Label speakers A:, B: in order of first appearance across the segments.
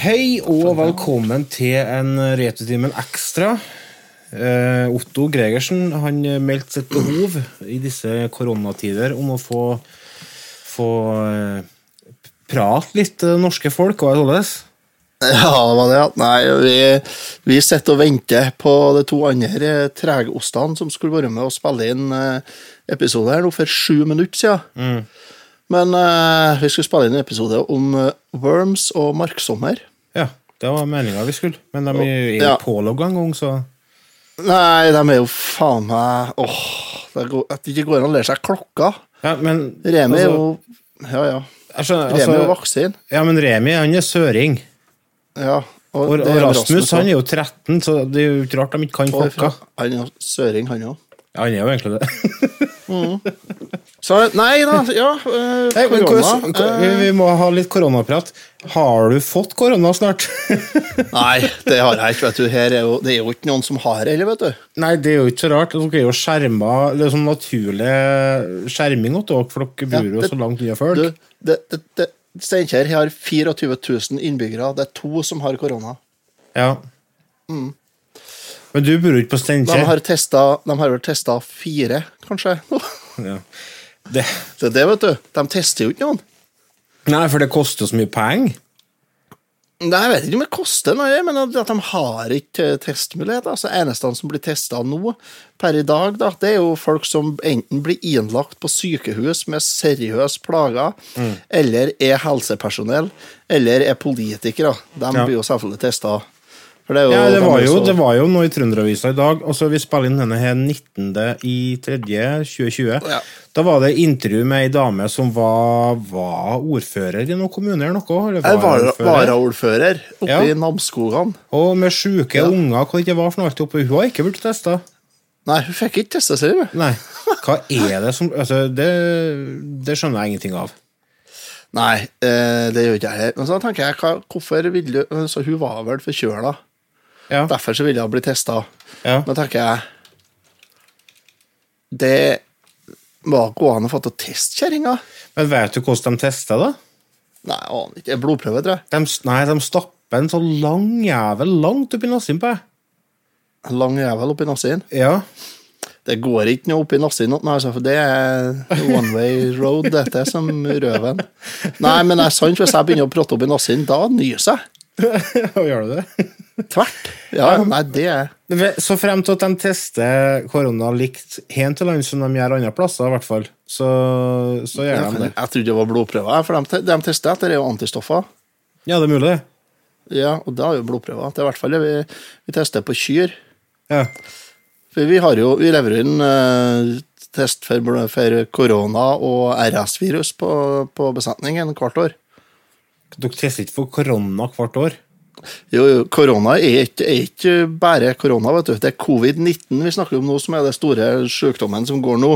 A: Hei og velkommen til en Retustimen ekstra. Eh, Otto Gregersen han meldte sitt behov i disse koronatider om å få, få eh, prate litt til det norske folk og alt sånt.
B: Ja, men ja. Nei, vi, vi sitter og venter på de to andre eh, tregostene som skulle være med og spille inn eh, episode her nå for sju minutter siden.
A: Mm.
B: Men eh, vi skulle spille inn en episode om eh, worms og marksommer.
A: Ja, det var meninga vi skulle, men de er jo
B: Ja.
A: pålogga en gang, så
B: Nei, de er jo faen meg Åh, det går, at det ikke går an å lære seg klokka.
A: ja, men,
B: Remi
A: altså,
B: er jo Ja, ja.
A: jeg skjønner,
B: Remi er jo
A: altså,
B: vaksin.
A: ja, men Remi han er søring.
B: Ja.
A: Og,
B: det
A: og
B: er
A: Rasmus han
B: også.
A: er jo 13, så det er jo ikke rart de ikke kan
B: Og ifra-
A: klokka.
B: Han er jo søring, han òg.
A: Ja, han er jo egentlig det.
B: Så nei da, ja. eh,
A: Nei, men
B: korona,
A: hvordan- ko-
B: eh,
A: vi- vi må ha litt koronaprat. Har du fått korona snart?
B: Nei, det har jeg ikke. vet du. Her er jo, det er jo ikke noen som har det heller, vet du.
A: Nei, det er jo ikke så rart. Altså, Dere er jo skjerma. Det er sånn naturlig skjerming åt dere, for dere bor jo
B: det-
A: så langt unna
B: du
A: folk.
B: det, det, det, Steinkjer har 24 000 innbyggere. Det er to som har korona.
A: Ja. Mm. Men du bor jo ikke på
B: De
A: Steinkjer.
B: har, testet, de har vel testa fire, kanskje.
A: Ja. Det-
B: Det er det, vet du. De tester jo ikke noen.
A: Nei, for det koster så mye penger.
B: Nei, Jeg vet ikke om det koster noe, men at de har ikke eh, testmuligheter. Altså, eneste som blir testa nå, per i dag, da, det er jo folk som enten blir innlagt på sykehus med seriøse plager,
A: Mm.
B: eller er helsepersonell, eller er politikere. De
A: Ja.
B: blir jo selvfølgelig testa. For det er jo,
A: Ja, det
B: de
A: var
B: er
A: jo,
B: så-
A: det var jo noe i Trønderavisa i dag. Og så Vi spiller inn denne her 19. i 3. 2020.
B: Ja.
A: Da var det intervju med ei dame som var, var ordfører i noen kommune eller noe. Eller
B: Jeg var
A: varaordfører.
B: varaordfører oppe
A: Ja.
B: i Namsskogan.
A: Og med sjuke unger hva det var for noe alt oppe. Hun har ikke blitt testa.
B: Nei, hun fikk ikke testa seg. hun.
A: Nei. Hva er det som altså, det, det skjønner jeg ingenting av.
B: Nei, eh, det gjør ikke jeg heller. Men så tenker jeg, hva, hvorfor ville hun Så hun var vel forkjøla.
A: Ja.
B: Derfor så ville hun bli testa.
A: Ja.
B: Nå tenker jeg Det var ikke an å få til testkjerringa.
A: Men vet du hvordan de testa, da?
B: Nei, jeg aner ikke. Blodprøve, tror jeg.
A: De, nei, de stapper en så lang jævel langt oppi nassen på deg.
B: En Lang jævel oppi nassen.
A: Ja.
B: Det går ikke noe oppi nassen. nå, nei, altså, for Det er one way road, dette, som røven. Nei, men det er sant. Hvis jeg begynner å prate oppi nassen, da nyser jeg.
A: Og gjør du det?
B: Tvert. Ja, nei, det er
A: Ve- Så frem til at de tester korona likt hen til land som de gjør andre plasser, i hvert fall, så, så gjør de det.
B: Jeg trodde det var blodprøver, for de, te- de tester etter det er jo antistoffer.
A: Ja, det er mulig, det.
B: Ja, og da er jo blodprøver. Det er i hvert fall det vi, vi tester på kyr.
A: Ja.
B: For vi har jo, vi lever inn eh, test for, for korona og RS-virus på, på besetningen hvert år.
A: Dere tester ikke for korona hvert år.
B: Jo, jo, korona er ikke, er ikke bare korona, vet du. Det er covid-19 vi snakker om nå, som er den store sykdommen som går nå.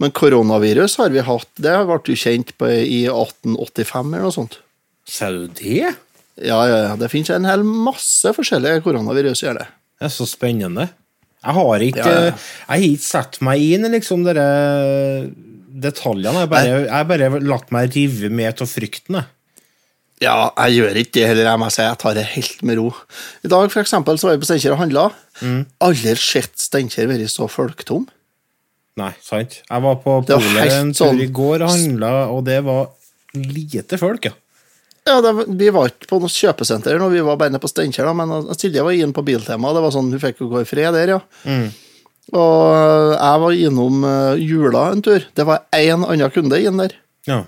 B: Men koronavirus har vi hatt, det ble jo kjent på, i 1885 eller noe sånt.
A: Sa du det?
B: Ja, ja, ja. Det finnes en hel masse forskjellige koronavirus, gjør det.
A: Det er så spennende. Jeg har ikke,
B: Ja, ja.
A: Jeg har ikke satt meg inn i liksom dere detaljene. Jeg har bare, jeg har bare latt meg rive med av frykten. jeg.
B: Ja, jeg gjør ikke det heller, jeg må si. Jeg tar det helt med ro. I dag for eksempel, så var jeg på Steinkjer og handla.
A: Mm.
B: Aldri sett Steinkjer være så folktom.
A: Nei, sant? Jeg var på
B: Det var
A: polet en
B: helt
A: tur
B: sånn-
A: i går og handla, og det var lite folk, ja.
B: Ja, det, var- Vi var ikke på noe kjøpesenter, nå, vi var bare nede på Steinkjer, da, men uh, Silje var inne på Biltema. Det var sånn, Hun fikk jo gå i fred der, ja.
A: Mm.
B: Og uh, jeg var innom uh, Jula en tur. Det var én annen kunde inn der.
A: ja.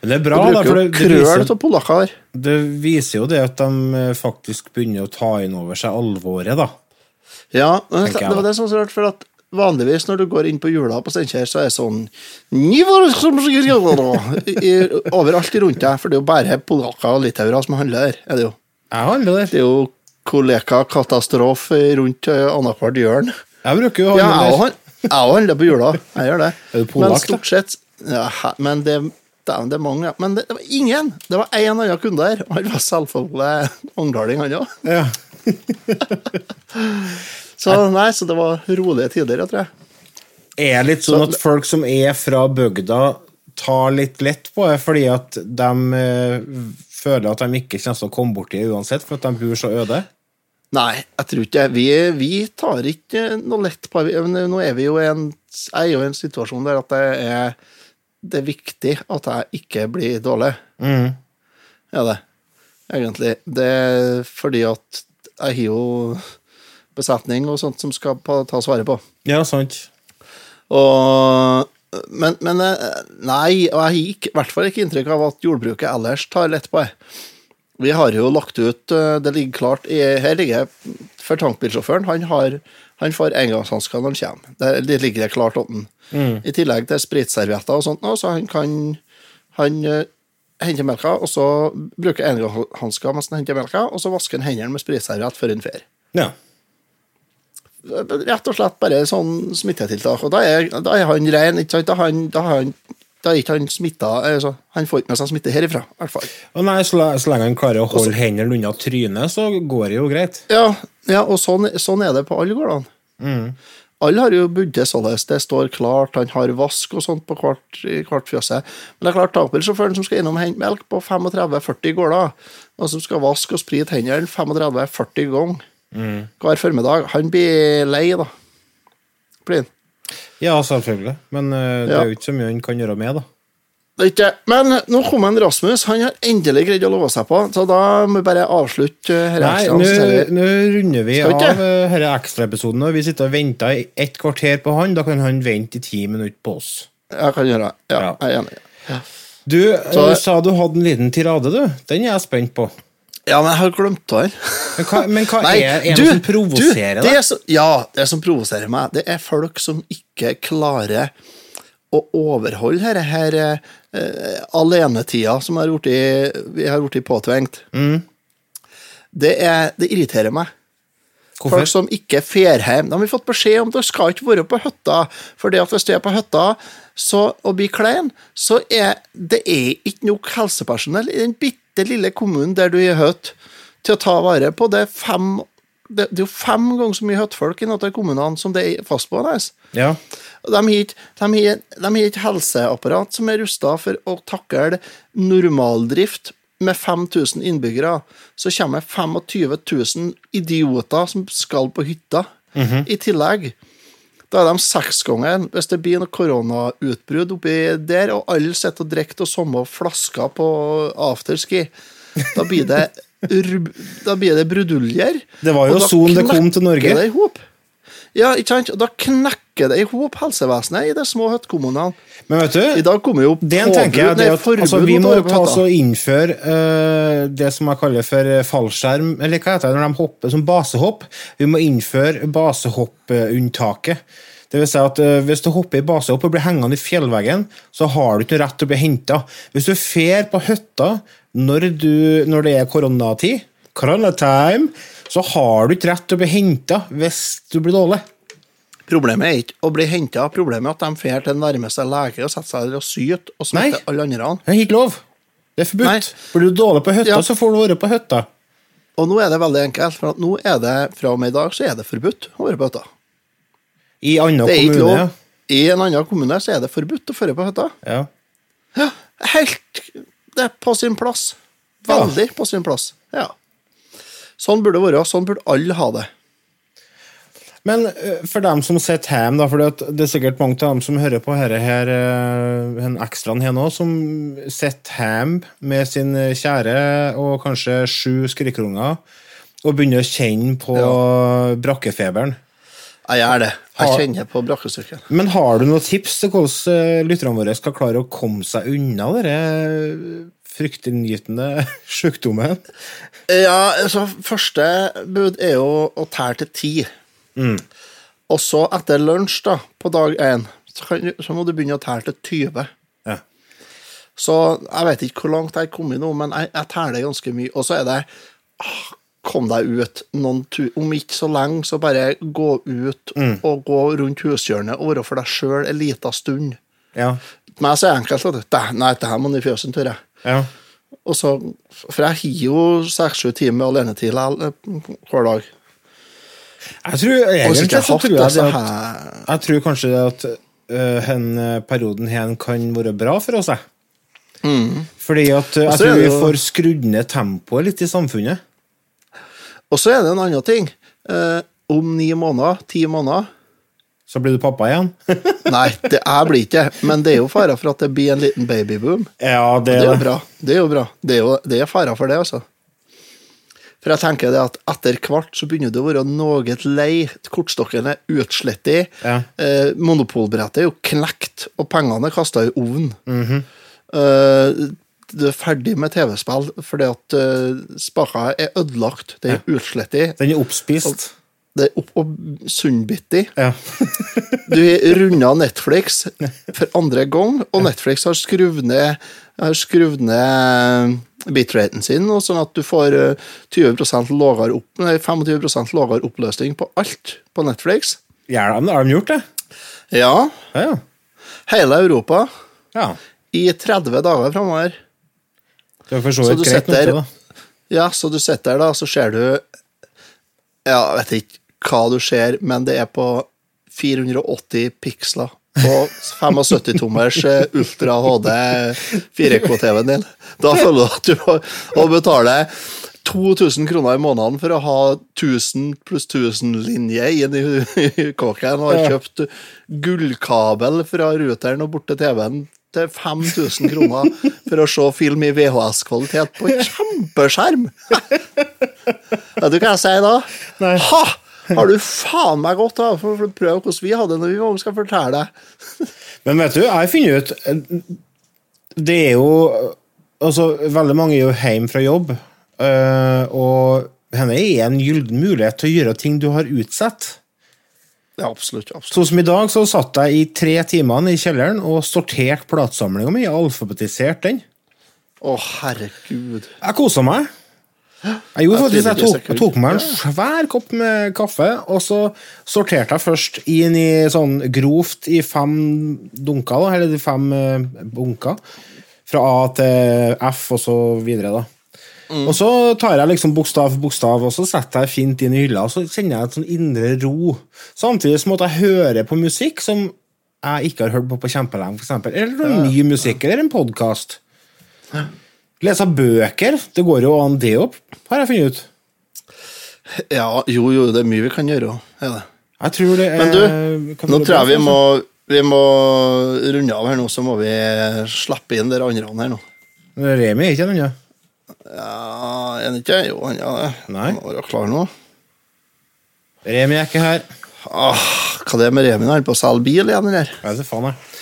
A: Men det er bra,
B: Det
A: da,
B: bruker
A: for
B: jo
A: det, det viser
B: krøl av polakker.
A: Det viser jo det at de eh, faktisk begynner å ta inn over seg alvoret, da.
B: Ja,
A: Tenker
B: men det,
A: jeg
B: det var
A: da.
B: det som var så rart, for at vanligvis når du går inn på jula på Steinkjer, så er det sånn «Nivå som sier ja da», i- Overalt rundt deg, for det er jo bare polakker og litauere som handler her. Er det, jo.
A: Jeg handler der.
B: det er jo koleka-katastrofe rundt eh, annethvert hjørne.
A: Jeg bruker jo å
B: Ja,
A: handle
B: jeg
A: der.
B: han- jeg også handler på jula. Jeg gjør det.
A: Er du polakk,
B: Men
A: da?
B: stort sett ja, he- Men det, det, er, det er mange, ja. Men det, det var ingen! Det var én annen kunde der, og han var selvfølgelig ungdaling, han òg.
A: Ja.
B: Så nei, så det var rolige tider, jeg tror jeg.
A: Er litt sånn at folk som er fra bygda, tar litt lett på det, fordi at de eh, føler at de ikke kommer til å komme borti det uansett, for at de bor så øde.
B: Nei, jeg tror ikke det. Vi, vi tar ikke noe lett på men Nå er vi jo i en, jeg er jo i en situasjon der at det er, det er viktig at jeg ikke blir dårlig. Er det, egentlig. Det er fordi at jeg har jo besetning og sånt som skal pa- tas vare på.
A: Ja, sant.
B: Og, men, men eh, nei, og jeg har ikke- i hvert fall ikke inntrykk av at jordbruket ellers tar lett på det. Vi har jo lagt ut eh, Det ligger klart i, Her ligger for tankbilsjåføren. Han, har, han får engangshansker når han kommer. Det, det ligger det klart åtten. I tillegg til spritservietter og sånt, nå, så han kan Han eh, henter melka, og så bruker engangshansker mens han henter melka, og så vasker han hendene med spritserviett før han drar
A: Ja.
B: rett og slett bare sånn smittetiltak. Og da er, da er han ren, ikke sant? Da, har han, da, har han, da er ikke han smitta altså, Han får ikke med seg smitte herifra, i hvert fall.
A: Og nei, så, le- så lenge han klarer å
B: Altså-
A: holde hendene unna trynet, så går det jo greit.
B: Ja, ja og sånn, sånn er det på alle gårdene. Alle har jo bodd det således. Det står klart, han har vask og sånt på hvert, i hvert fjøset. Men det er klart, tankbilsjåføren som skal innom og hente melk på 35-40 gårder, og som skal vaske og sprite hendene 35-40 ganger hver formiddag, han blir lei, da. Blir han.
A: Ja, selvfølgelig. Men eh, det
B: Ja.
A: er jo ikke så mye han kan gjøre med, da.
B: Det er ikke det. Men nå kom en Rasmus. Han har endelig greid å love seg på, så da må vi bare avslutte eh, her
A: Nei,
B: ekstraen, så ser
A: nå-
B: vi-
A: nå runder vi
B: Skal
A: av
B: vi ikke?
A: eh, herre ekstraepisoden. og Vi sitter og venter i ett kvarter på han. Da kan han vente i ti minutter på oss.
B: Jeg kan gjøre det. Ja,
A: Ja.
B: jeg er enig.
A: Du
B: Så-
A: eh, sa du hadde en liten tirade, du. Den er jeg spent på.
B: Ja, men jeg har glemt det her.
A: Men hva, men hva
B: Nei,
A: er, er
B: du,
A: det som provoserer
B: du, det
A: deg?
B: er så- Ja, det som provoserer meg, det er folk som ikke klarer å overholde dette her eh, eh, alenetida som har gjort i, vi har blitt påtvingt.
A: Mm.
B: Det, er, det irriterer meg. Folk
A: Hvorfor?
B: som ikke fer hjem. De har fått beskjed om at de skal ikke være på hytta. Fordi at hvis du er på hytta så, og blir klein, så er det er ikke nok helsepersonell i den bitte lille kommunen der du er høtt, til å ta vare på. Det er fem, det, det er jo fem ganger så mye høttfolk i noen av kommunene som det er fastboende.
A: Ja.
B: Og De har ikke- de har- de har ikke helseapparat som er rusta for å takle normaldrift med 5000 innbyggere. Så kommer 25 000 idioter som skal på hytta
A: Mhm.
B: i tillegg. Da er de seksgangeren hvis det blir noe koronautbrudd oppi der, og alle sitter og drikker av samme flasker på afterski. Da blir det, rub- da blir det bruduljer.
A: Det var jo
B: og da
A: sånn det kom til Norge.
B: knekker det i hop. Ja, ikke sant? Og Da knekker det i hop helsevesenet i de små høttkommunene.
A: Men vet
B: I
A: du,
B: dag kommer jo
A: det en tenker jeg, det
B: nei,
A: er at altså,
B: forbud
A: vi
B: mot
A: må
B: å være på
A: ta oss
B: hytta.
A: og innføre eh, det som jeg kaller for eh, fallskjerm, eller hva heter det når de hopper som basehopp? Vi må innføre basehoppunntaket. Det vil si at eh, Hvis du hopper i basehopp og blir hengende i fjellveggen, så har du ikke noe rett til å bli henta. Hvis du fer på hytta når, du, når det er koronatid, koronatime, så har du ikke rett til å bli henta hvis du blir dårlig.
B: Problemet er ikke å bli henta, problemet er at de drar til nærmeste lege og setter seg der og syter og
A: Nei.
B: smitter alle andre.
A: Det er ikke lov. Det er forbudt.
B: Nei.
A: Blir du dårlig på hytta,
B: Ja.
A: så får du være på hytta.
B: Og nå er det veldig enkelt, for at nå er det fra og med i dag så er det forbudt å være på hytta.
A: I annen
B: Det er ikke
A: kommune.
B: lov.
A: ja.
B: I en annen kommune så er det forbudt å føre på hytta.
A: Ja.
B: Ja, helt Det er på sin plass.
A: Ja.
B: Veldig på sin plass. Ja. Sånn burde det være. Sånn burde alle ha det.
A: Men ø, for dem som sitter hjemme, da, for det er sikkert mange av dem som hører på dette her, ø, den ekstraen her nå, som sitter hjemme med sin kjære og kanskje sju skrikerunger og begynner å kjenne på brakkefeberen.
B: Jeg gjør det.
A: Har-
B: Jeg kjenner på brakkestyrken.
A: Men har du noen tips til hvordan ø, lytterne våre skal klare å komme seg unna denne fryktinngytende sykdommen?
B: Ja, altså, første bud er jo å tære til ti. Mm. Og så etter lunsj da, på dag én, så, kan, du- så må du begynne å tære til 20.
A: Ja.
B: Så jeg vet ikke hvor langt jeg er kommet nå, men jeg, jeg tæler ganske mye. Og så er det ah, Kom deg ut noen tur. Om ikke så lenge, så bare gå ut og gå rundt hushjørnet og være for deg sjøl en liten stund.
A: Ja.
B: For meg så er det enkelt. At, det- nei, det her må ned i fjøsen, tør jeg.
A: ja.
B: Og så, for jeg har jo seks-sju timer alenetid likevel, eh, hver dag.
A: Jeg tror
B: Og hvis
A: egentlig
B: ikke jeg
A: så
B: har hatt
A: tror jeg
B: det,
A: det
B: så
A: at
B: har jeg
A: Jeg tror kanskje det at eh, hen, eh, perioden her kan være bra for oss. jeg. Fordi at eh, jeg
B: Mm. Og så er
A: tror
B: det
A: vi
B: jo-
A: får skrudd ned tempoet litt i samfunnet.
B: Og så er det en annen ting. Eh, om ni måneder, ti måneder
A: Så blir du pappa igjen.
B: Nei, det jeg blir ikke det, men det er jo fare for at det blir en liten babyboom.
A: ja, det
B: Det er
A: er
B: jo bra. Det er jo bra. Det er, jo, det er fare for det, altså. For jeg tenker det at etter hvert så begynner det å være noe lei. Kortstokken er utslettet.
A: Ja.
B: Eh, monopolbrettet er jo knekt, og pengene er kasta i ovnen. eh, du er ferdig med TV-spill fordi at eh, spaka er ødelagt. Det er utslettet.
A: Den er oppspist.
B: Det er opp og sunnbittig.
A: Ja.
B: Du runda Netflix for andre gang, og Netflix har skrudd ned, har skruv ned bitraten sin, og sånn at du får eh, 20 lavere opp, nei, 25 lavere oppløsning på alt på Netflix.
A: Gjør de det? Har de gjort det?
B: Ja,
A: Ja, ja.
B: hele Europa
A: ja.
B: i 30 dager framover.
A: Det er for så
B: Så
A: vidt
B: du
A: greit.
B: sitter-
A: nok, det, da.
B: Ja, så du sitter der, da, så ser du Ja, jeg vet ikke hva du ser, men det er på 480 piksler. På 75-tommers eh, Ultra HD 4K-TV-en din. Da føler du at du må må betale 2000 kroner i måneden for å ha 1000 pluss 1000-linje inn i kåken, og har kjøpt gullkabel fra routeren og bort til TV-en til 5000 kroner for å se film i VHS-kvalitet på kjempeskjerm! Vet du hva jeg sier da? Ha! Har du faen meg godt av for å prøve hvordan vi hadde det når vi var unge, skal jeg fortelle deg.
A: Men vet du, jeg finner ut eh, Det er jo eh, Altså, veldig mange er jo hjemme fra jobb, eh, og henne er en gyllen mulighet til å gjøre ting du har utsatt.
B: Ja, absolutt. absolutt.
A: Sånn som i dag, så satt jeg i tre timer i kjelleren og sorterte platesamlinga mi. Alfabetiserte den.
B: Å, herregud.
A: Jeg kosa meg. Jeg gjorde
B: Jeg
A: faktisk,
B: trodde
A: jeg tok,
B: ikke
A: jeg
B: så kult.
A: tok meg en svær kopp med kaffe, og så sorterte jeg først inn i sånn grovt i fem dunker, da, eller de fem eh, bunker, fra A til F og så videre, da. Og så tar jeg liksom bokstav for bokstav, og så setter jeg fint inn i hylla, og så kjenner jeg et sånn indre ro. Samtidig som at jeg hører på musikk som jeg ikke har hørt på på kjempelenge, for eksempel. Eller noe ny musikk, eller en podkast. Lese bøker, det går jo an det opp, har jeg funnet ut.
B: Ja, jo, jo, det er mye vi kan gjøre. Er det.
A: Jeg tror det er
B: Men Eh, du,
A: kan
B: nå
A: være
B: tror jeg
A: bra,
B: vi må, vi må runde av her nå, så må vi slippe inn dere andre her nå.
A: altså. Remi er ikke den, ja.
B: Ja, er det ikke? Jo, han er det.
A: Nei.
B: Han må være klar nå.
A: Remi er ikke her.
B: Ah, hva det er med Remin? Han på å selge bil igjen, eller?
A: Jeg vet ikke faen, jeg.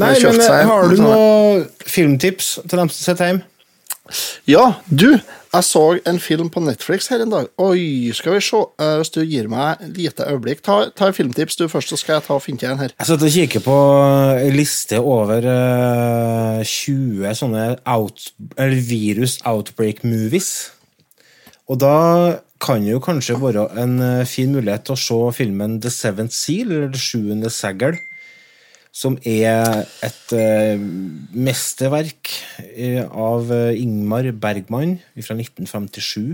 A: Nei,
B: kjøpt
A: men eh,
B: seg Sånn. en-
A: har du noen filmtips til dem som sitter hjemme?
B: Ja, du, jeg så en film på Netflix her en dag. Oi, skal vi se. Eh, hvis du gir meg et lite øyeblikk, ta, ta en filmtips du først, så skal jeg ta og finne til en her.
A: altså, Jeg satt og kikker på ei liste over eh, 20 sånne out, eller virus outbreak-movies. Og da kan det jo kanskje være en eh, fin mulighet til å se filmen The Seventh Seal, eller Det sjuende segl, som er et eh, mesterverk eh, av eh, Ingmar Bergman fra 1957.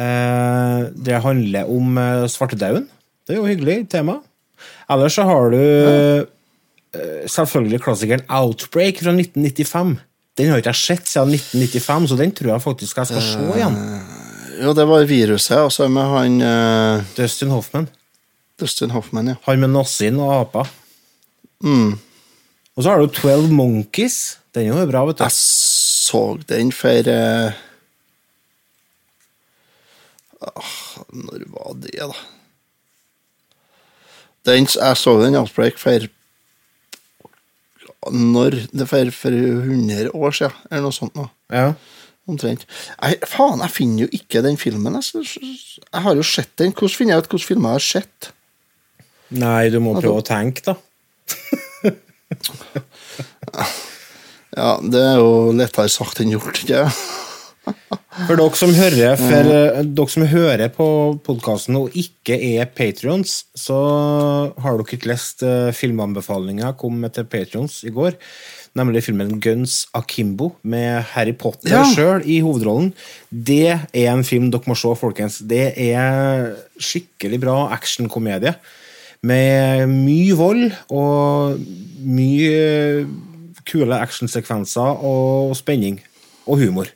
A: Eh, det handler om eh, svartedauden. Det er jo hyggelig tema. Ellers så har du eh, selvfølgelig klassikeren Outbreak fra 1995. Den har ikke jeg sett siden 1995, så den tror jeg faktisk jeg skal se igjen.
B: Jo, det var viruset, og så med han eh,
A: Dustin Hoffman.
B: Dustin Hoffman, ja.
A: Han med nazien og apa.
B: Mm.
A: Og så har du 12 Monkeys. Den er jo bra, vet
B: Jeg
A: du.
B: så den for eh, ah, Når var det, da? Den, jeg så den i Outbreak for Når? Det for, for 100 år siden, eller noe sånt. nå.
A: Ja.
B: Omtrent. Jeg, faen, jeg finner jo ikke den filmen. Jeg, synes- jeg har jo sett den. Hvordan finner jeg ut hvilke filmer jeg har sett?
A: Nei, du må prøve å tenke, da.
B: Ja, Det er jo lettere sagt enn gjort. ikke?
A: For dere som hører, for, eh, dere som hører på podkasten og ikke er patrions, så har dere ikke lest eh, filmanbefalinga jeg kom med til patrions i går. Nemlig filmen Guns Akimbo med Harry Potter
B: Ja.
A: sjøl i hovedrollen. Det er en film dere må se, folkens. Det er skikkelig bra actionkomedie. Med mye vold og mye kule actionsekvenser og spenning. Og humor.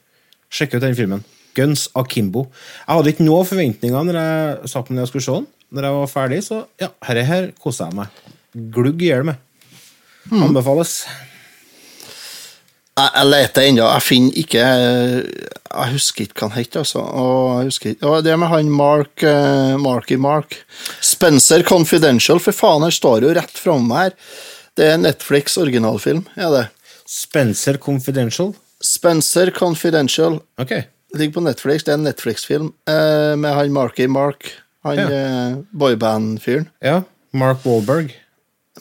A: Sjekk ut den filmen. Guns Akimbo. Jeg hadde ikke noen forventninger når jeg satt meg ned og skulle se den. Når jeg var ferdig, så ja, herre her koser jeg meg. Glugg i hjel med. Anbefales.
B: Jeg, jeg leter ennå. Jeg finner ikke eh, Jeg husker ikke hva han het, altså. Og jeg husker ikke. Og det med han Mark eh, Marky Mark. Spencer Confidential, for faen, her står jo rett framme her. Det er Netflix originalfilm, er det.
A: Spencer Confidential.
B: Spencer Confidential
A: Ok.
B: ligger på Netflix. Det er en Netflix-film eh, med han Marky Mark, han
A: Ja.
B: eh, boyband-fyren.
A: Ja. Mark Wahlberg.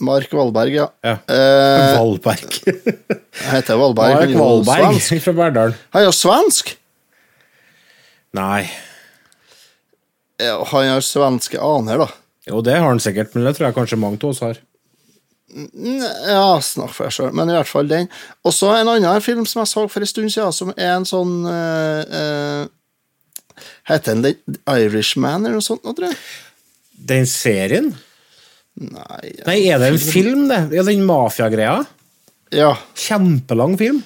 B: Mark Valberg, ja.
A: Ja.
B: Eh,
A: Wahlberg.
B: jeg heter Valberg.
A: Mark
B: han er jo
A: Wahlberg
B: svensk.
A: fra Verdal.
B: Han er jo svensk!
A: Nei.
B: Ja, Han har svenske aner, da.
A: Jo, det har han sikkert, men det tror jeg kanskje mange av oss har.
B: Ja, snakk for deg sjøl, men i hvert fall den. Og så en annen film som jeg så for en stund siden, som er en sånn eh, eh, Heter den The Irishman eller noe sånt? nå, tror jeg?
A: Den serien?
B: Nei ja.
A: Nei, er det en film, det? Ja, den mafiagreia?
B: ja.
A: Kjempelang film.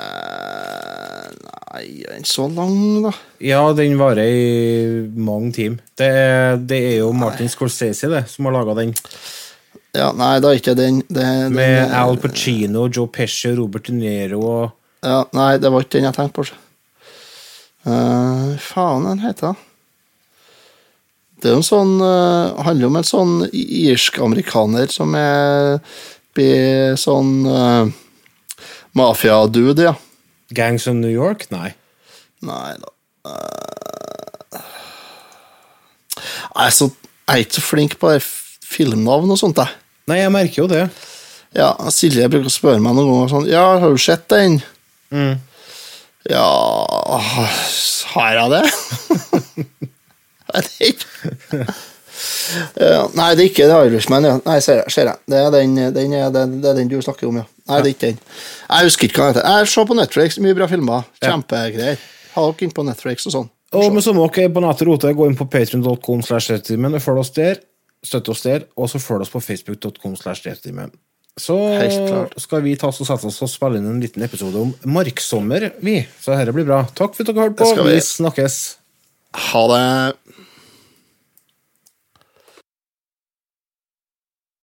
B: Eh, nei, er den så lang, da?
A: Ja, den varer i mange timer. Det, er- det er jo Martin Scorsese det, som har laga den.
B: Ja, Nei, det er ikke den. Det, den eh,
A: Med Al Pacino, Joe Pesci, Robert De Niro og
B: Ja, nei, det var ikke den jeg tenkte på. Uh, faen, den heter det? Det er jo en sånn eh, handler om en sånn irsk-amerikaner som er blir sånn uh, mafia-dude, ja.
A: Gangs of New York? Nei.
B: Nei da Eh, Jeg er så jeg er ikke så flink på det f- filmnavn og sånt, jeg.
A: Nei, jeg merker jo det.
B: Ja, Silje bruker å spørre meg noen ganger sånn Ja, har du sett den?
A: Mm.
B: Ja Har jeg det? jeg vet ikke. Ja, nei, det er ikke The Irishman. Ja. Nei, ser jeg. Ser jeg. Det, er den, den er, det, det er den du snakker om, ja. Nei, det er ikke den. Jeg husker ikke hva den heter. Jeg ser på Netflix. Mye bra filmer. Kjempegreier. Ha dere inn på Netflix og sånn.
A: Og med samme dere er på nettet roter, gå inn på patreon.com slash rettimen og følg oss der. Støtt oss der, og så følg oss på facebook.com slash rettimen. Så
B: Helt klart.
A: skal vi ta oss og sette oss og spille inn en liten episode om marksommer, vi. Så dette blir bra. Takk for at dere hørte på.
B: Det skal
A: Vi
B: vi.
A: snakkes.
B: Ha det.